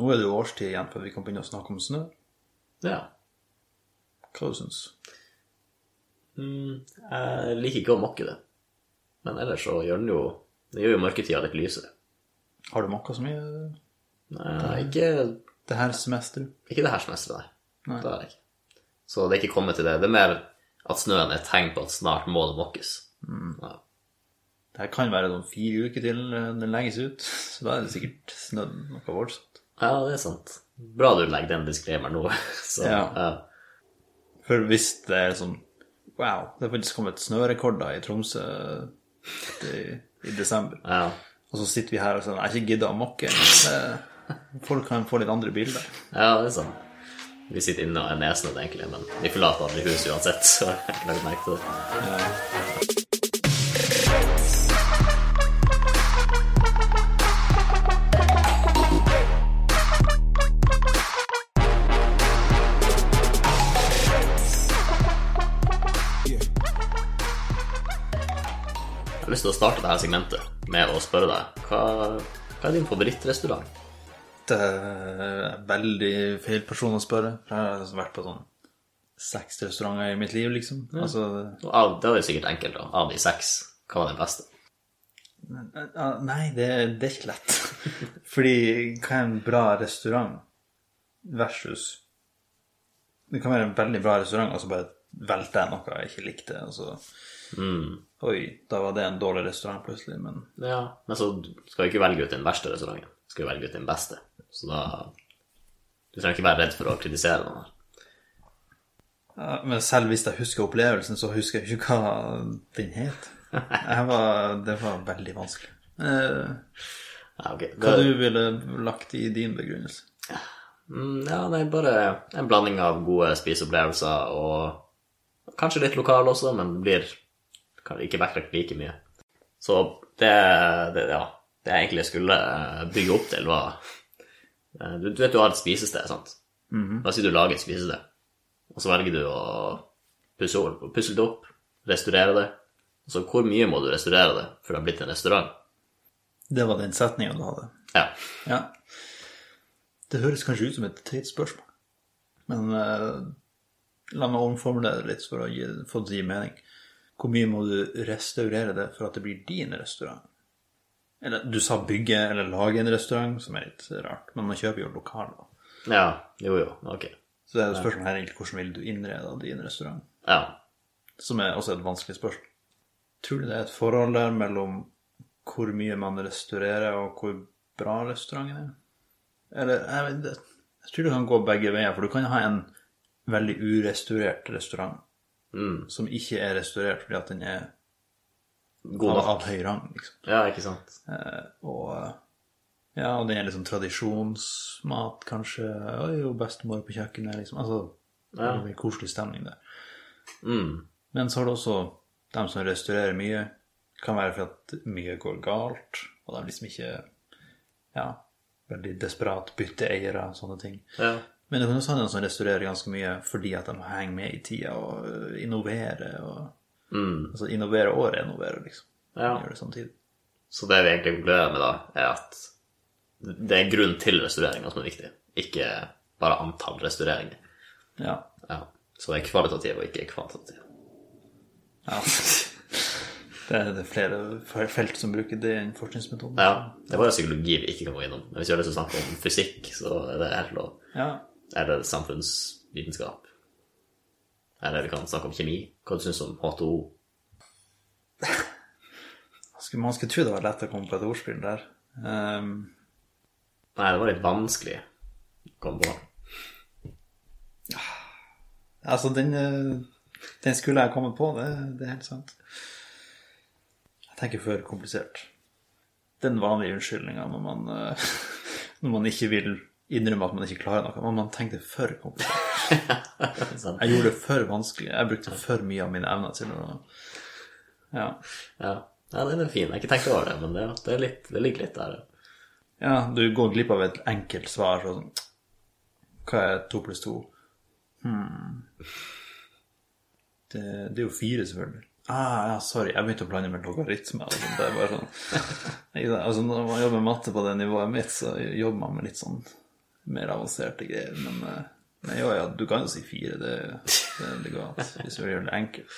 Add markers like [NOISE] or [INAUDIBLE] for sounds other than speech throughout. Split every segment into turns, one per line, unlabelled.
Nå er det jo årstid igjen før vi kan begynne å snakke om snø.
Ja.
Hva du syns
Mm, jeg liker ikke å måkke det. Men ellers så gjør den jo Det gjør jo mørketida litt lysere.
Har du måkka så mye Mm.
Nei, ikke,
det her semesteret?
ikke det her semesteret,
Nei.
nei. Det har jeg ikke. Så det er ikke kommet til det. Det er mer at snøen er et tegn på at snart må det måkes.
Mm.
Ja.
Det her kan være noen fire uker til eh, den legges ut, [LAUGHS] så da er det sikkert snødd noe voldsomt.
ja, det er sant. Bra du legger den diskremeren nå. [LAUGHS] Så,
Ja.
ja.
For hvis det er sånn Wow, det er faktisk kommet snørekorder i Tromsø eh, i, i desember.
ja.
Og så sitter vi her og sånn Jeg har ikke gidda å måke. Det- Folk kan få litt andre bilder.
Ja, det er sant. Vi sitter inne og er nesnødd, egentlig, men vi forlater aldri huset uansett. Så jeg har ikke lagt merke til det. Jeg har lyst til å starte dette segmentet med å spørre deg hva, hva er din favorittrestaurant?
Det er veldig feil person å spørre. For jeg har vært på sånn seks restauranter i mitt liv, liksom. Altså,
Og Av, det var jo sikkert enkelt, da. Av de seks, hva var den beste?
eh, nei, det, det er ikke lett. [LAUGHS] Fordi hva er en bra restaurant versus Det kan være en veldig bra restaurant, og så bare velter jeg noe jeg ikke likte. Og så Oi, da var det en dårlig restaurant plutselig, men
Ja. Men så skal du ikke velge ut den verste restauranten, du skal jo velge ut den beste. Så da Du trenger ikke være redd for å kritisere noen her.
Ja, Men selv hvis jeg husker opplevelsen, så husker jeg ikke hva den het. Jeg var, det var veldig vanskelig. Eh,
Ja, ok.
hva
Det-
du ville lagt i din begrunnelse?
Mm, Ja, nei, bare en blanding av gode spiseopplevelser og kanskje litt lokal også, men blir kanskje ikke vektlagt like mye. Så det, det, ja, det jeg egentlig skulle eh, bygge opp til, var eh, Du, du vet du har et spisested, sant? Da sier du lager et spisested, og så velger du å pusse, opp- pusse det opp, restaurere det. Så hvor mye må du restaurere det før det har blitt en restaurant?
Det var den setninga du hadde.
Ja.
Ja. Det høres kanskje ut som et teit spørsmål, men eh, la meg omformulere det litt for å gi, få det til å gi mening. Hvor mye må du restaurere det for at det blir din restaurant? Eller du sa bygge eller lage en restaurant, som er litt rart, men man kjøper jo lokaler.
ja. Jo, jo. Ok.
Så det er jo spørsmålet her egentlig hvordan vil du innrede din restaurant,
Ja.
som er også et vanskelig spørsmål. Tror du det er et forhold der mellom hvor mye man restaurerer, og hvor bra restauranten er? Eller jeg, vet det- jeg tror det kan gå begge veier, for du kan ha en veldig urestaurert restaurant
Mm.
som ikke er restaurert fordi at den er
God
av,
nok.
av høy rang, liksom.
Ja, ikke sant.
Og eh, ja, og den er liksom tradisjonsmat, kanskje. Oi, jo, bestemor på kjøkkenet, liksom. Altså, det er en koselig stemning der.
Mm.
Men så har du også dem som restaurerer mye. Kan være for at mye går galt, og de liksom ikke ja, veldig desperat bytter eiere og sånne ting.
Ja.
Men det kan også være noen som restaurerer ganske mye fordi at de henger med i tida og øh, innoverer. Og,
Mm.
altså innoverer og renoverer, liksom.
Ja.
Gjør det samtidig.
Så det vi egentlig konkluderer med, da, er at det er grunn til restaureringa som er viktig, ikke bare antall restaureringer.
Ja.
Ja. Så det er kvalitativ og ikke kvantitativ.
ja. [LAUGHS] Det er det er flere felt som bruker den forskningsmetoden.
Ja, Det var jo psykologi vi ikke kan gå innom. Men hvis vi har lyst til å snakke om fysikk, så er det helt lov.
Ja.
Eller samfunnsvitenskap. Eller vi kan snakke om kjemi. Hva du syns om H2O?
Skulle- Man skulle tro det var lett å komme på et ordspill der. Ehm,
Nei, det var litt vanskelig å komme på.
Altså, den, eh, den skulle jeg kommet på, det, det er helt sant. Jeg tenker for komplisert. Den vanlige unnskyldninga når, man, eh, [LAUGHS] når man ikke vil innrømme at man ikke klarer noe, men man tenkte for komplisert.
Sant.
Jeg gjorde det for vanskelig. Jeg brukte for mye av mine evner til å Ja,
Ja. ja, den er fin. Jeg har ikke tenkt over det, men det, det, er litt, det ligger litt der. ja.
ja du går glipp av et enkelt svar. Sånn, hva er to pluss to? Hmm. Det, det er jo fire, selvfølgelig. Ah, ja, sorry, jeg begynte å blande med logaritmer. og sånt. Det er bare sånn. Nei, det- Altså, når man jobber med matte på det nivået mitt, så jobber man med litt sånn mer avanserte greier. Men, eh, men ja, ja, du kan jo si fire. Det, det er legalt, hvis du gjør det enkelt.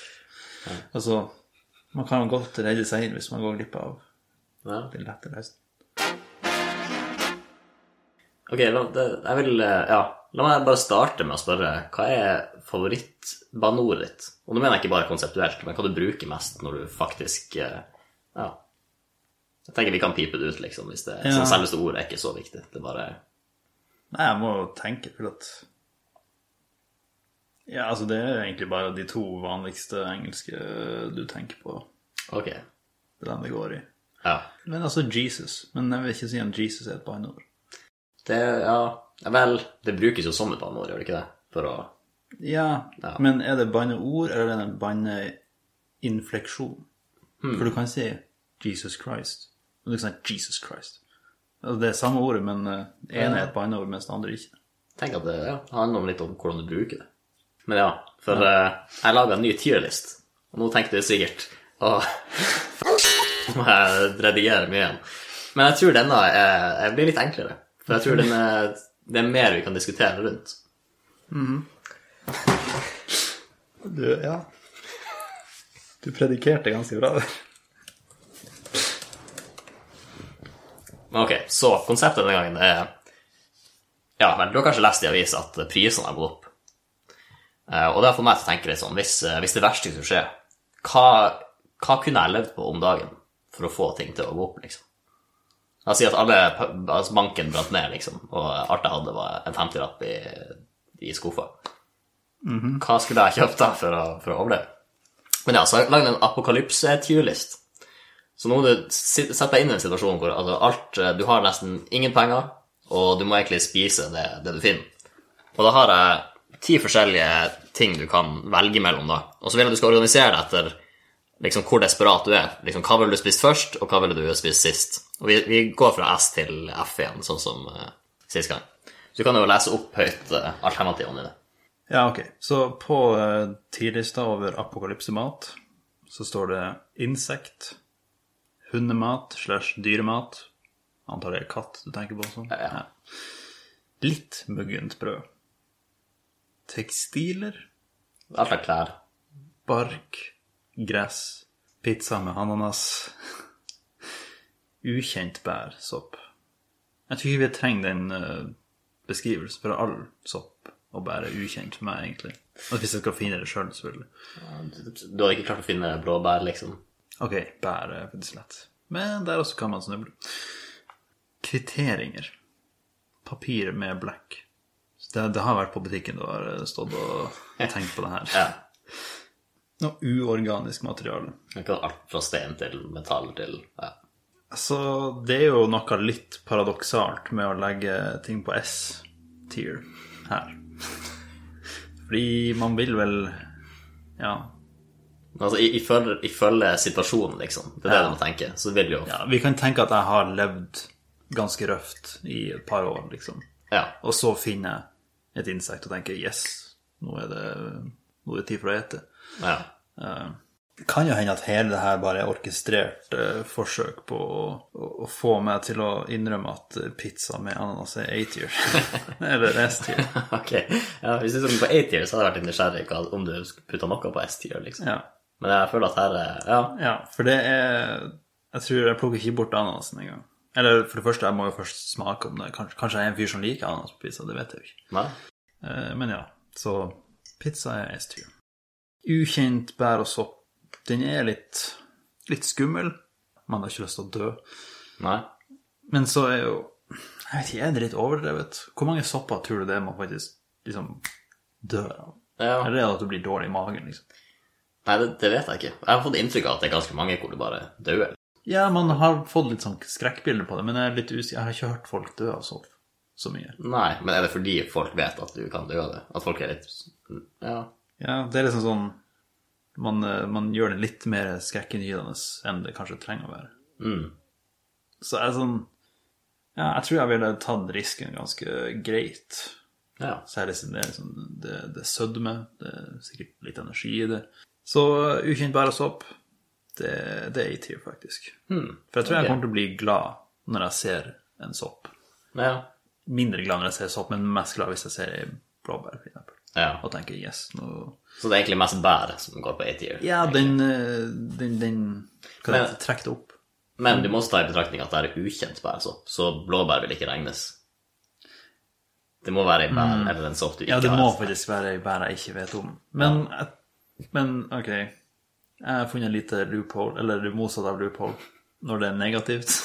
Altså, man kan jo godt redde seg inn hvis man går glipp av
Ja.
den lette løsningen.
Ok, la, det, jeg vil eh, Ja. La meg bare starte med å spørre hva er favorittbandeordet ditt? Og nå mener jeg ikke bare konseptuelt, men hva du bruker mest når du faktisk eh, Ja. Jeg tenker vi kan pipe det ut, liksom, hvis det
Ja.
så selveste ordet er ikke så viktig. Det er bare
Nei, jeg må jo tenke, for at Ja, altså, det er egentlig bare de to vanligste engelske eh, du tenker på.
Ok.
Det er den det går i.
Ja.
Men altså Jesus. Men jeg vil ikke si at Jesus er et banneord.
Det Ja, vel, det brukes jo som et banneord, gjør det ikke det? For å
Ja,
Ja.
men er det banneord, eller er det en banneinfleksjon? For du kan si Jesus Christ, men du kan si Jesus Christ. Altså, det er samme ordet, men eh, det ene er et banneord, mens det andre ikke.
tenke at det ja, handler om litt om hvordan du bruker det. Men ja, for eh, jeg laga en ny tierlist, og nå tenker du sikkert Å, må jeg redigere mye igjen. Men jeg tror denne er, jeg blir litt enklere. For jeg tror den er, det er mer vi kan diskutere rundt.
Du, ja. Du predikerte ganske bra.
Men ok, så konseptet denne gangen er Ja, vel, du har kanskje lest i avisa at prisene har gått opp. Eh, Og det har fått meg til å tenke litt sånn Hvis, eh, hvis det verste skulle skje, hva, hva kunne jeg levd på om dagen for å få ting til å gå opp, liksom? La oss si at alle, altså banken brant ned, liksom, og alt jeg hadde, var en 50-lapp i, i skuffa. Hva skulle jeg kjøpt da for å, for å overleve? Men ja, så har jeg lagd en apokalypse-tierlist. Så nå må du si- sette deg inn i en situasjon hvor altså, alt, eh, du har nesten ingen penger, og du må egentlig spise det, det du finner. Og da har jeg ti forskjellige ting du kan velge mellom, da. Og så vil jeg at du skal organisere deg etter liksom, hvor desperat du er. Liksom, hva ville du spist først, og hva ville du spist sist? Og vi, vi går fra S til F igjen, sånn som uh, sist gang. Så du kan jo lese opp høyt eh, alternativene dine.
Ja, ok. Så på eh, tidlista over apokalypsemat så står det insekt, hundemat slash dyremat. Antar det er katt du tenker på sånn?
Ja, ja.
Litt muggent brød. Tekstiler,
Alt av klær.
bark, gress, pizza med ananas. [LAUGHS] Ukjent bær, sopp. Jeg tror ikke vi trenger den eh, beskrivelsen, for all sopp og bær er ukjent for meg, egentlig. Og hvis jeg skal finne det sjøl, selvfølgelig.
Du hadde ikke klart å finne blåbær, liksom.
Ok, bær er faktisk lett. Men der også kan man snuble. Kvitteringer. Papir med blekk. Så Det, det har vært på butikken du har eh, stått og tenkt på det her.
Ja.
Noe uorganisk materiale.
Du kan ha alt fra stein til metall til ja.
Altså, det er jo noe litt paradoksalt med å legge ting på S-tier her. Fordi man vil vel Ja.
Men Altså, i- ifølge, ifølge situasjonen, liksom. Det er
Ja.
det du må tenke. Så vil jo Ja.
ja vi kan tenke at jeg har levd ganske røft i et par år, liksom. Og så finner jeg et insekt og tenker 'yes, nå er det, nå er det tid for å ete'.
ja. [LAUGHS]
Det Eh, kan jo hende at hele det her bare er orkestrert eh, forsøk på å, å, å få meg til å innrømme at eh, pizza med ananas er A-tier. [LAUGHS] Eller S-tier.
Ok. Ja, hvis du tok den på A-tier, så hadde jeg vært litt nysgjerrig på om du skulle putta noe på S-tier, liksom.
Ja.
Men jeg føler at her er Ja.
ja, for det er Jeg tror jeg plukker ikke bort ananasen engang. Eller for det første, jeg må jo først smake om det. Kanskje, kanskje jeg er en fyr som liker ananas på pizza, det vet jeg jo ikke.
Nei?
Eh, Men ja, så pizza er S-tier. Ukjent bær og sopp. Den er litt, litt skummel. Man har ikke lyst til å dø.
Nei?
Men så er jo Jeg vet ikke, er det litt overdrevet? Hvor mange sopper tror du det er man faktisk liksom dør av?
Ja.
Eller er det at du blir dårlig i magen, liksom?
Nei, det, det vet jeg ikke. Jeg har fått inntrykk av at det er ganske mange hvor du bare dauer.
Ja, man har fått litt sånn skrekkbilder på det, men jeg er litt usikker. Jeg har ikke hørt folk dø av sopp så mye.
Nei, men er det fordi folk vet at du kan dø av det? At folk er litt Ja.
Ja, det er liksom sånn Man, eh, man gjør det litt mer skrekkinngytende enn det kanskje trenger å være.
Mm.
Så jeg er sånn Ja, jeg tror jeg ville tatt risken ganske greit.
Ja.
Særlig siden det er liksom det, det er sødme, det er sikkert litt energi i det. Så uh, ukjent bær og sopp, det, det er i tier, faktisk.
Hmm.
For jeg tror
ok.
jeg kommer til å bli glad når jeg ser en sopp.
Ja.
mindre glad når jeg ser sopp, men mest glad hvis jeg ser ei blåbær, for eksempel.
Ja.
Og tenker yes, nå
Så det er egentlig mest bær som går på A-tier.
Ja, den, eh, den, den Hva
Men-
heter det? Trekk det opp. Mm.
Men du må også ta i betraktning at det er ukjent bærsopp, så blåbær vil ikke regnes. Det må være en bær eller en sopp du ikke
Mm. Ja, det må
har.
faktisk være ei bær jeg ikke vet om. Men, jeg- men ok, jeg har funnet en lite loophole, eller det motsatte av loophole, når det er negativt.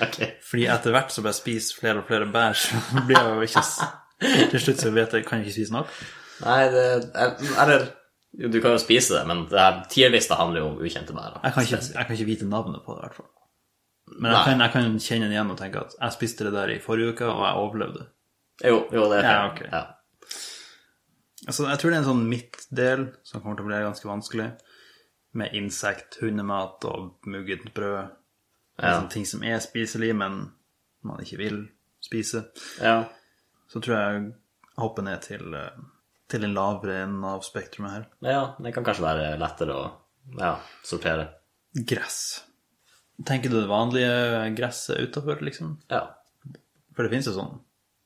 Ok.
Fordi etter hvert som jeg spiser flere og flere bær, så [LAUGHS] blir jeg jo ikke s- Til slutt så vet jeg kan jeg ikke spise nok.
Nei, det er, Eller jo, du kan jo spise det, men det her tierlista handler jo om ukjente bær. da.
Jeg kan ikke, jeg kan ikke vite navnet på det, i hvert fall. Men
Nei.
jeg kan, jeg kan kjenne den igjen og tenke at jeg spiste det der i forrige uke, og jeg overlevde.
Jo, jo, det er
Ja,
fair.
ok. Altså, jeg tror det er en sånn midtdel som kommer til å bli ganske vanskelig, med insekt, hundemat og mugget brød.
Ja.
Sånne ting som er spiselig, men man ikke vil spise.
ja.
Så tror jeg jeg hopper ned til, eh, til den lavere enden av spektrumet her.
ja. ja, det kan kanskje være lettere å ja, sortere.
Gress. Tenker du det vanlige gresset utafor, liksom?
Ja.
For det finnes jo sånn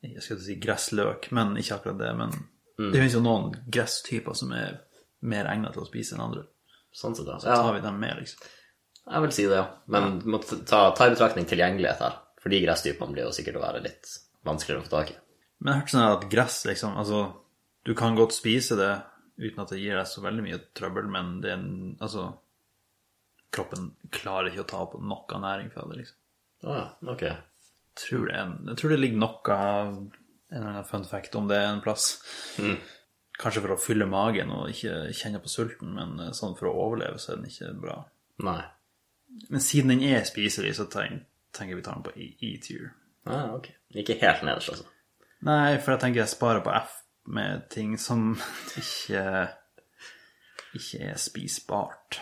Jeg skal ikke si gressløk, men ikke akkurat det. Men
Mm.
det finnes jo noen gresstyper som er mer egnet til å spise enn andre.
Sånn sett, ja.
Da
ja.
tar vi dem med, liksom.
Jeg vil si det, ja. Men du må ta, ta i betraktning tilgjengelighet her. For de gresstypene blir jo sikkert å være litt vanskeligere å få tak i.
Men jeg har hørt sånn at gress, liksom Altså, du kan godt spise det uten at det gir deg så veldig mye trøbbel, men det er en Altså, kroppen klarer ikke å ta opp nok av næring fra det, liksom.
Å ja, ok.
tror det, er en, jeg tror det ligger noe av en eller annen fun fact om det er en plass. Kanskje for å fylle magen og ikke kjenne på sulten, men eh, sånn for å overleve så er den ikke bra.
Nei.
Men siden den er spiselig, så tenk, tenker vi tar den på E- E-tier.
Ja, ok. Ikke helt nederst, altså.
Nei, for jeg tenker jeg sparer på F med ting som [LAUGHS] ikke, ikke er spisbart.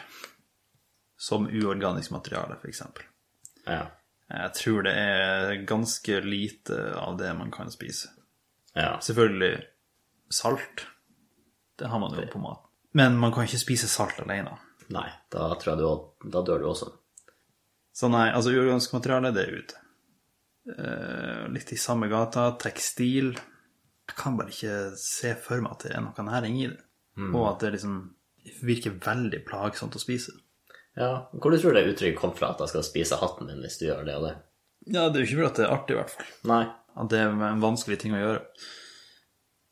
Som uorganisk materiale, f.eks.
Ja.
Jeg tror det er ganske lite av det man kan spise.
Ja.
Selvfølgelig salt. Det har man jo på mat. Men man kan ikke spise salt alene.
Nei, da tror jeg du òg Da dør du også.
Så nei, altså uorganisk materiale, det er ute. Eh, litt i samme gata. Tekstil. Jeg kan bare ikke se for meg at det er noe næring i det. Og at det liksom virker veldig plagsomt å spise.
Ja. Hvor du tror det uttrykket kom fra, at jeg skal spise hatten din hvis du gjør det og det?
Ja, det er jo ikke fordi at det er artig, i hvert fall.
Nei.
at det er en vanskelig ting å gjøre.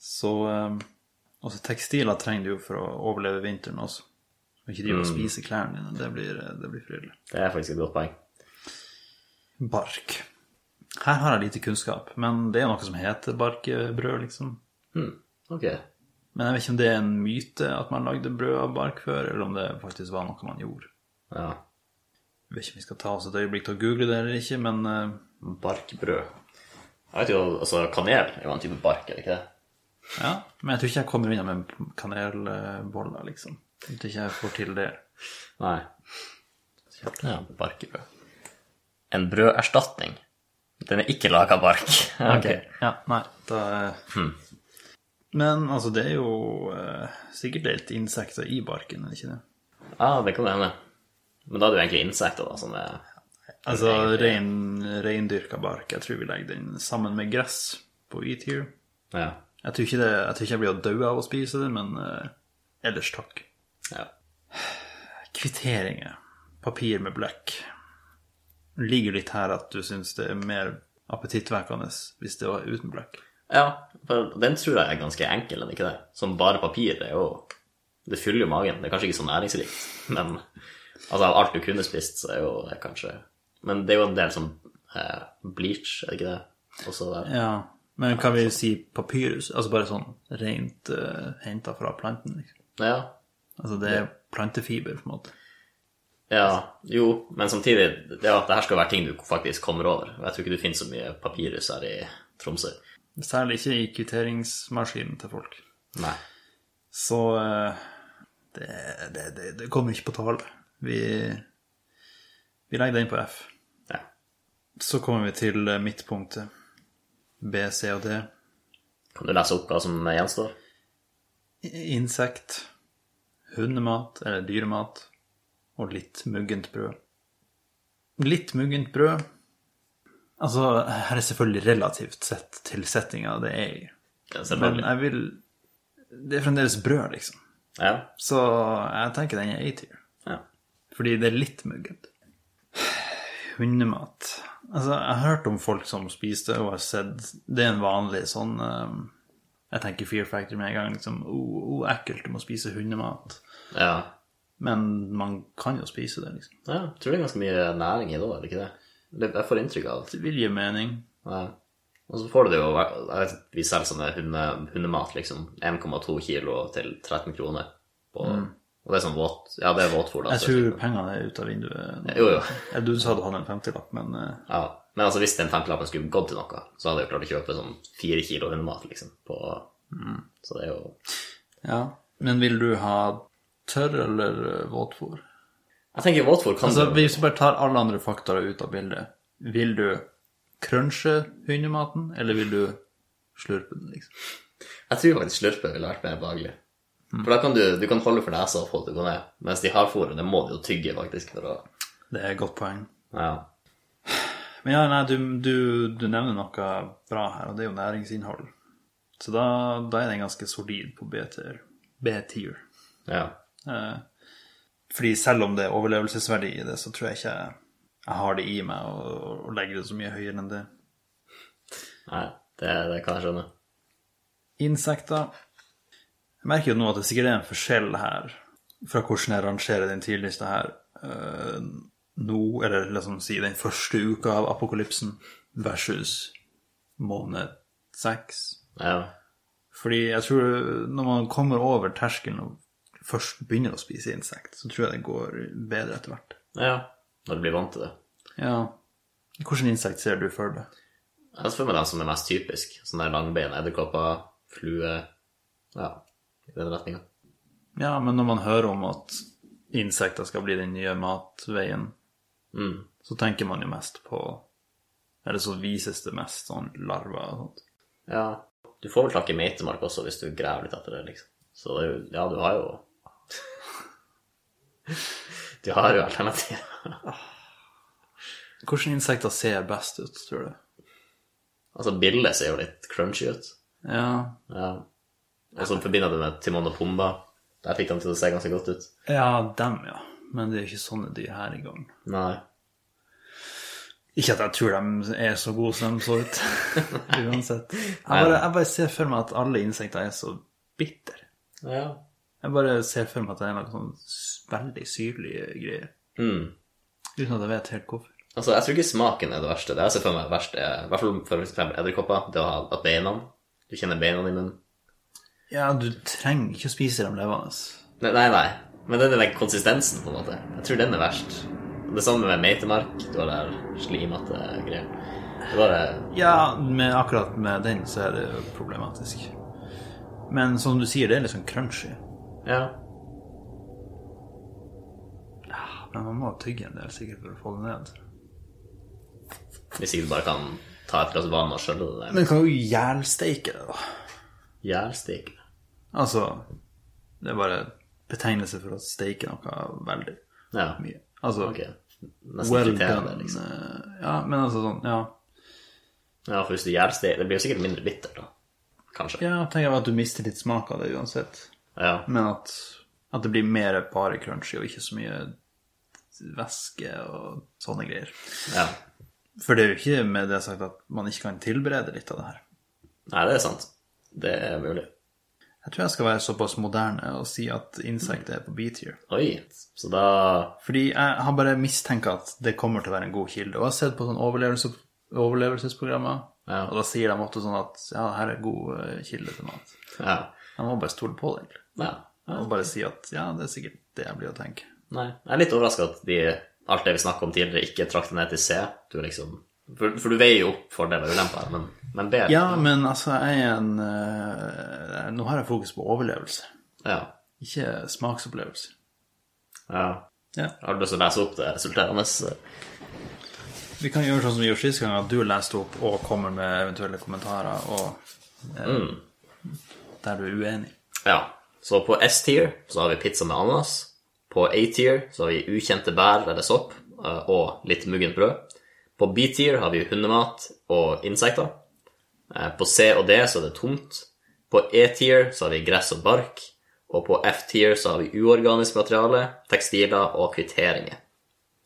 Så eh, også tekstiler trenger du jo for å overleve vinteren også. Og ikke drive og spise klærne dine. Det blir, eh, det blir forille.
Det er faktisk et godt poeng.
Bark. Her har jeg lite kunnskap, men det er noe som heter barkbrød, liksom.
Hm, Ok.
Men jeg vet ikke om det er en myte at man lagde brød av bark før, eller om det faktisk var noe man gjorde.
Ja.
Jeg vet ikke om vi skal ta oss et øyeblikk til å google det eller ikke, men eh,
Barkbrød. Jeg vet jo, altså kanel er jo en type bark, er det ikke det?
ja. Men jeg tror ikke jeg kommer unna med kanelboller, liksom. Jeg tror ikke jeg får til det.
Nei. Ja, barkbrød. En brøderstatning. Den er ikke laga av bark. [LAUGHS] Ok.
Ja, nei, Hmm. da eh, Men altså, det er jo eh, sikkert litt insekter i barken, er det ikke det?
Ja, det kan hende. Men da er det jo egentlig insekter, da, som er
Altså rein, reindyrka bark. Jeg tror vi legger den sammen med gress på E-tier.
Ja.
Jeg tror ikke det, jeg tror ikke jeg blir å dø av å spise det, men eh, ellers takk.
ja.
Kvitteringer. Papir med blekk. Ligger litt her at du syns det er mer appetittvekkende hvis det var uten blekk.
Ja, for den tror jeg er ganske enkel, er det ikke det? Som bare papir, det er jo Det fyller jo magen. Det er kanskje ikke så næringsrikt, men altså av alt du kunne spist, så er jo det kanskje Men det er jo en del som eh, bleach, er det ikke det? Også der.
Ja, men kan vi si papyrus? Altså bare sånn rent uh, henta fra planten? Liksom.
Ja.
Altså det er plantefiber, på en måte.
ja. Jo, men samtidig Ja, det her skal være ting du faktisk kommer over. Og jeg tror ikke du finner så mye papirus her i Tromsø.
Særlig ikke i kvitteringsmaskinen til folk.
Nei.
Så eh, det, det, det, det kommer ikke på tale. Vi, vi legger den på F.
Ja.
Så kommer vi til eh, midtpunktet. B, C og D.
Kan du lese opp hva som gjenstår?
I- Insekt, hundemat eller dyremat og litt muggent brød. Litt muggent brød Altså, her er selvfølgelig relativt sett til settinga det er i.
Ja,
Men
Selvfølgelig.
jeg vil Det er fremdeles brød, liksom.
Ja.
Så jeg tenker den er A-tier.
ja.
Fordi det er litt muggent. Hundemat. Altså, jeg har hørt om folk som spiste og har sett Det er en vanlig sånn eh, Jeg tenker Fear Factor med en gang. liksom, oh, oh, ekkelt, du må spise hundemat.
ja.
Men man kan jo spise det, liksom.
Ja, jeg tror det er ganske mye næring i det òg, er det ikke det? det? Jeg får inntrykk av det.
Det vil gi mening.
Ja. Og så får du det jo jeg vet, Vi selger sånne hunde, hundemat, liksom. 1,2 kilo til 13 kroner. På, Og det er sånn våt Ja, det er våtfôr, da.
Mm. Jeg
så-
tror pengene er ute av vinduet.
Jo, jo.
Ja, Du sa du hadde en 50-lapp, men eh,
Ja. Men altså, hvis den femtelappen skulle gått til noe, så hadde jeg jo klart å kjøpe sånn fire kilo hundemat, liksom. På,
Mm.
Så det er jo
ja. Men vil du ha tørr eller eh, våtfôr?
Jeg tenker våtfôr kan
Altså,
du-
hvis vi bare tar alle andre faktorer ut av bildet, vil du crunche hundematen, eller vil du slurpe den, liksom?
Jeg tror faktisk slurpe ville vært mer behagelig.
Mm.
For da kan du, du kan holde for nesa og få det til å gå ned. Mens de hardfòrene, det må du jo tygge, faktisk, for å
Det er et godt poeng.
Ja.
Men ja, nei, du, du, du nevner noe bra her, og det er jo næringsinnhold. Så da, da er den ganske solid på B-tier. B-tier.
ja.
Eh, Fordi selv om det er overlevelsesverdi i det, så tror jeg ikke jeg, jeg har det i meg å å legge det så mye høyere enn det.
Nei, det, det kan jeg skjønne.
Insekter. Jeg merker jo nå at det sikkert er en forskjell her fra hvordan jeg rangerer den tidligste her eh, nå, eller liksom si den første uka av apokalypsen versus måned seks.
Ja.
Fordi jeg tror når man kommer over terskelen og først begynner å spise insekt, så tror jeg det går bedre etter hvert.
ja. Når du blir vant til det.
Ja. Hvilken insekt ser du for deg?
Jeg ser for meg dem som er mest typisk. Sånne der langbein, edderkopper, flue Ja, i den retninga.
Ja, men når man hører om at insekter skal bli den nye matveien,
Mm.
så tenker man jo mest på Eller så vises det mest sånn larver og sånt.
Ja. Du får vel tak i meitemark også, hvis du graver litt etter det, liksom. Så det er jo Ja, du har jo [LAUGHS] Du har jo alternativ.
Hvilke insekter ser best ut, tror du?
Altså, bille ser jo litt crunchy ut.
Ja,
Ja. Og så forbinder det med Timon og Pumba. Der fikk de til å se ganske godt ut.
ja dem, ja. Men det er jo ikke sånne dyr her i gang.
Nei.
Ikke at jeg tror de er så gode som de så ut. [LAUGHS] Uansett. Jeg bare, jeg bare ser for meg at alle insekter er så bitre.
Ja.
Jeg bare ser for meg at det er noen sånn s- veldig syrlige greier.
Mm.
Uten at jeg vet helt hvorfor.
Altså, jeg tror ikke smaken er det verste. Det jeg ser for meg verst, er i hvert fall for eksempel edderkopper, det å ha at beina Du kjenner beina i munnen.
Ja, du trenger ikke å spise dem levende.
Nei, nei. nei. Men den er den konsistensen, på en måte. Jeg tror den er verst. Og Det samme med meitemark. Du har der slimete greier. Det er bare
Ja, med, akkurat med den så er det jo problematisk. Men som du sier, det er litt sånn crunchy.
Ja.
Men man må tygge en del sikkert for å få det ned.
Hvis ikke du bare kan ta et glass vann og skjølle det der.
Men du kan jo jælsteike det, da.
Jævlstikk.
Altså Det er bare betegnelse for å steike noe veldig
Ja.
mye. Altså
Ok. Nesten
well
friterende,
done.
liksom.
eh, Ja, men altså sånn Ja,
Ja, for hvis du gjør det, det blir jo sikkert mindre bittert da. Kanskje.
ja tenker jeg at du mister litt smak av det uansett.
Ja.
Men at, at det blir mer bare crunchy og ikke så mye væske og sånne greier.
ja.
For det er jo ikke med det sagt at man ikke kan tilberede litt av det her.
Nei, det er sant. Det er mulig.
Jeg tror jeg skal være såpass moderne og si at insekter er på B-tier.
Oi. Så da
Fordi jeg har bare mistenkt at det kommer til å være en god kilde. Og jeg har sett på sånne overlevelse, overlevelsesprogrammer,
Ja.
og da sier de ofte sånn at ja, det her er god eh, kilde til mat.
Ja.
Jeg må bare stole på det, egentlig.
ja.
Og bare si at ja, det er sikkert det jeg blir å tenke.
Nei. Jeg er litt overraska at de, alt det vi snakka om tidligere, ikke trakk det ned til C. Du er liksom For, for du veier jo opp fordeler og ulemper, men, men B
Ja, men altså, jeg er en eh, Nå har jeg fokus på overlevelse,
ja.
ikke smaksopplevelse.
ja.
Ja.
Har du lyst til å lese opp det resulterende? eh,
Vi kan gjøre sånn som vi gjorde sist gang, at du leste opp og kommer med eventuelle kommentarer og eh, der du er uenig.
Ja. Så på S-tier så har vi pizza med ananas. På A-tier så har vi ukjente bær eller sopp eh, og litt muggent brød. På B-tier har vi hundemat og insekter. Eh, På C og D så er det tomt. På E-tier så har vi gress og bark. Og på F-tier så har vi uorganisk materiale, tekstiler og kvitteringer.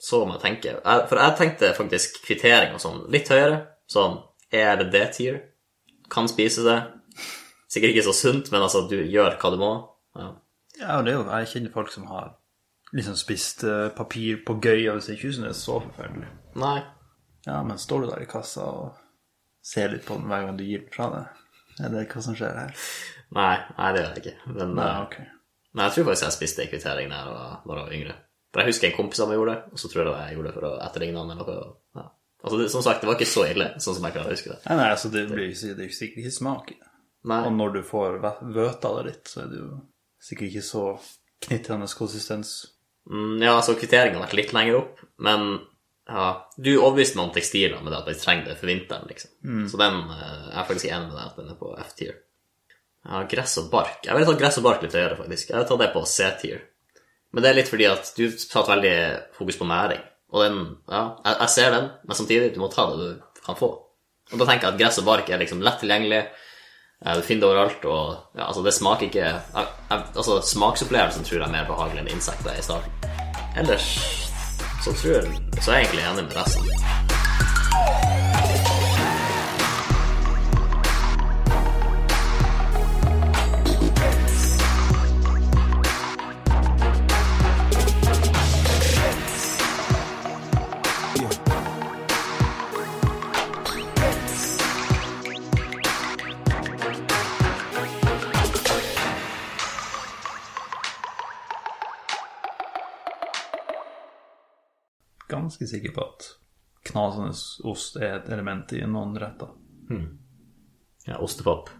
Så må jeg tenke jeg- For jeg tenkte faktisk kvittering og sånn litt høyere. Sånn E eller D-tier. Kan spise det. Sikkert ikke så sunt, men altså, du gjør hva du må. Ja.
Ja, og det er jo, jeg kjenner folk som har liksom spist eh, papir på gøy, og jeg ikke synes det er så forferdelig.
Nei.
Ja, men står du der i kassa og ser litt på den hver gang du gir den fra deg? Er det hva som skjer her?
Nei, nei, det gjør jeg ikke. Men,
Nei,
eh,
ok.
Nei, jeg tror faktisk jeg spiste en kvittering da jeg var, da jeg var yngre. For jeg husker en kompis av meg gjorde det, og så tror jeg jeg gjorde det for å etterligne han eller noe. og- Ja. Altså, det, som sagt, det var ikke så ille, sånn som jeg klarer å huske det.
Nei, nei, altså det blir jo ikke- det er jo sikkert ikke smak i det. Og
Nei,
når du får væ- vøta det litt, så er det jo sikkert ikke så knitrende konsistens.
mm, ja, altså, kvitteringen har vært litt lenger opp, men ja, du overbeviste meg om tekstiler med det at vi trenger det for vinteren, liksom. Så den eh, jeg er faktisk enig med deg at den er på F-tier. Ja, gress og bark. Jeg ville tatt gress og bark litt høyere, faktisk. Jeg ville tatt det på C-tier. Men det er litt fordi at du satt veldig fokus på næring. Og den, ja, jeg, jeg ser den, men samtidig, du må ta det du kan få. Og da tenker jeg at gress og bark er liksom lett tilgjengelig. eh, Du finner det overalt, og ja, altså, det smaker ikke jeg, jeg, Altså, smaksopplevelsen tror jeg er mer behagelig enn insekter i starten. Ellers så tror jeg Så er jeg egentlig enig med resten.
Ganske sikker på at knasende ost er et element i noen retter.
Ja, ostepop.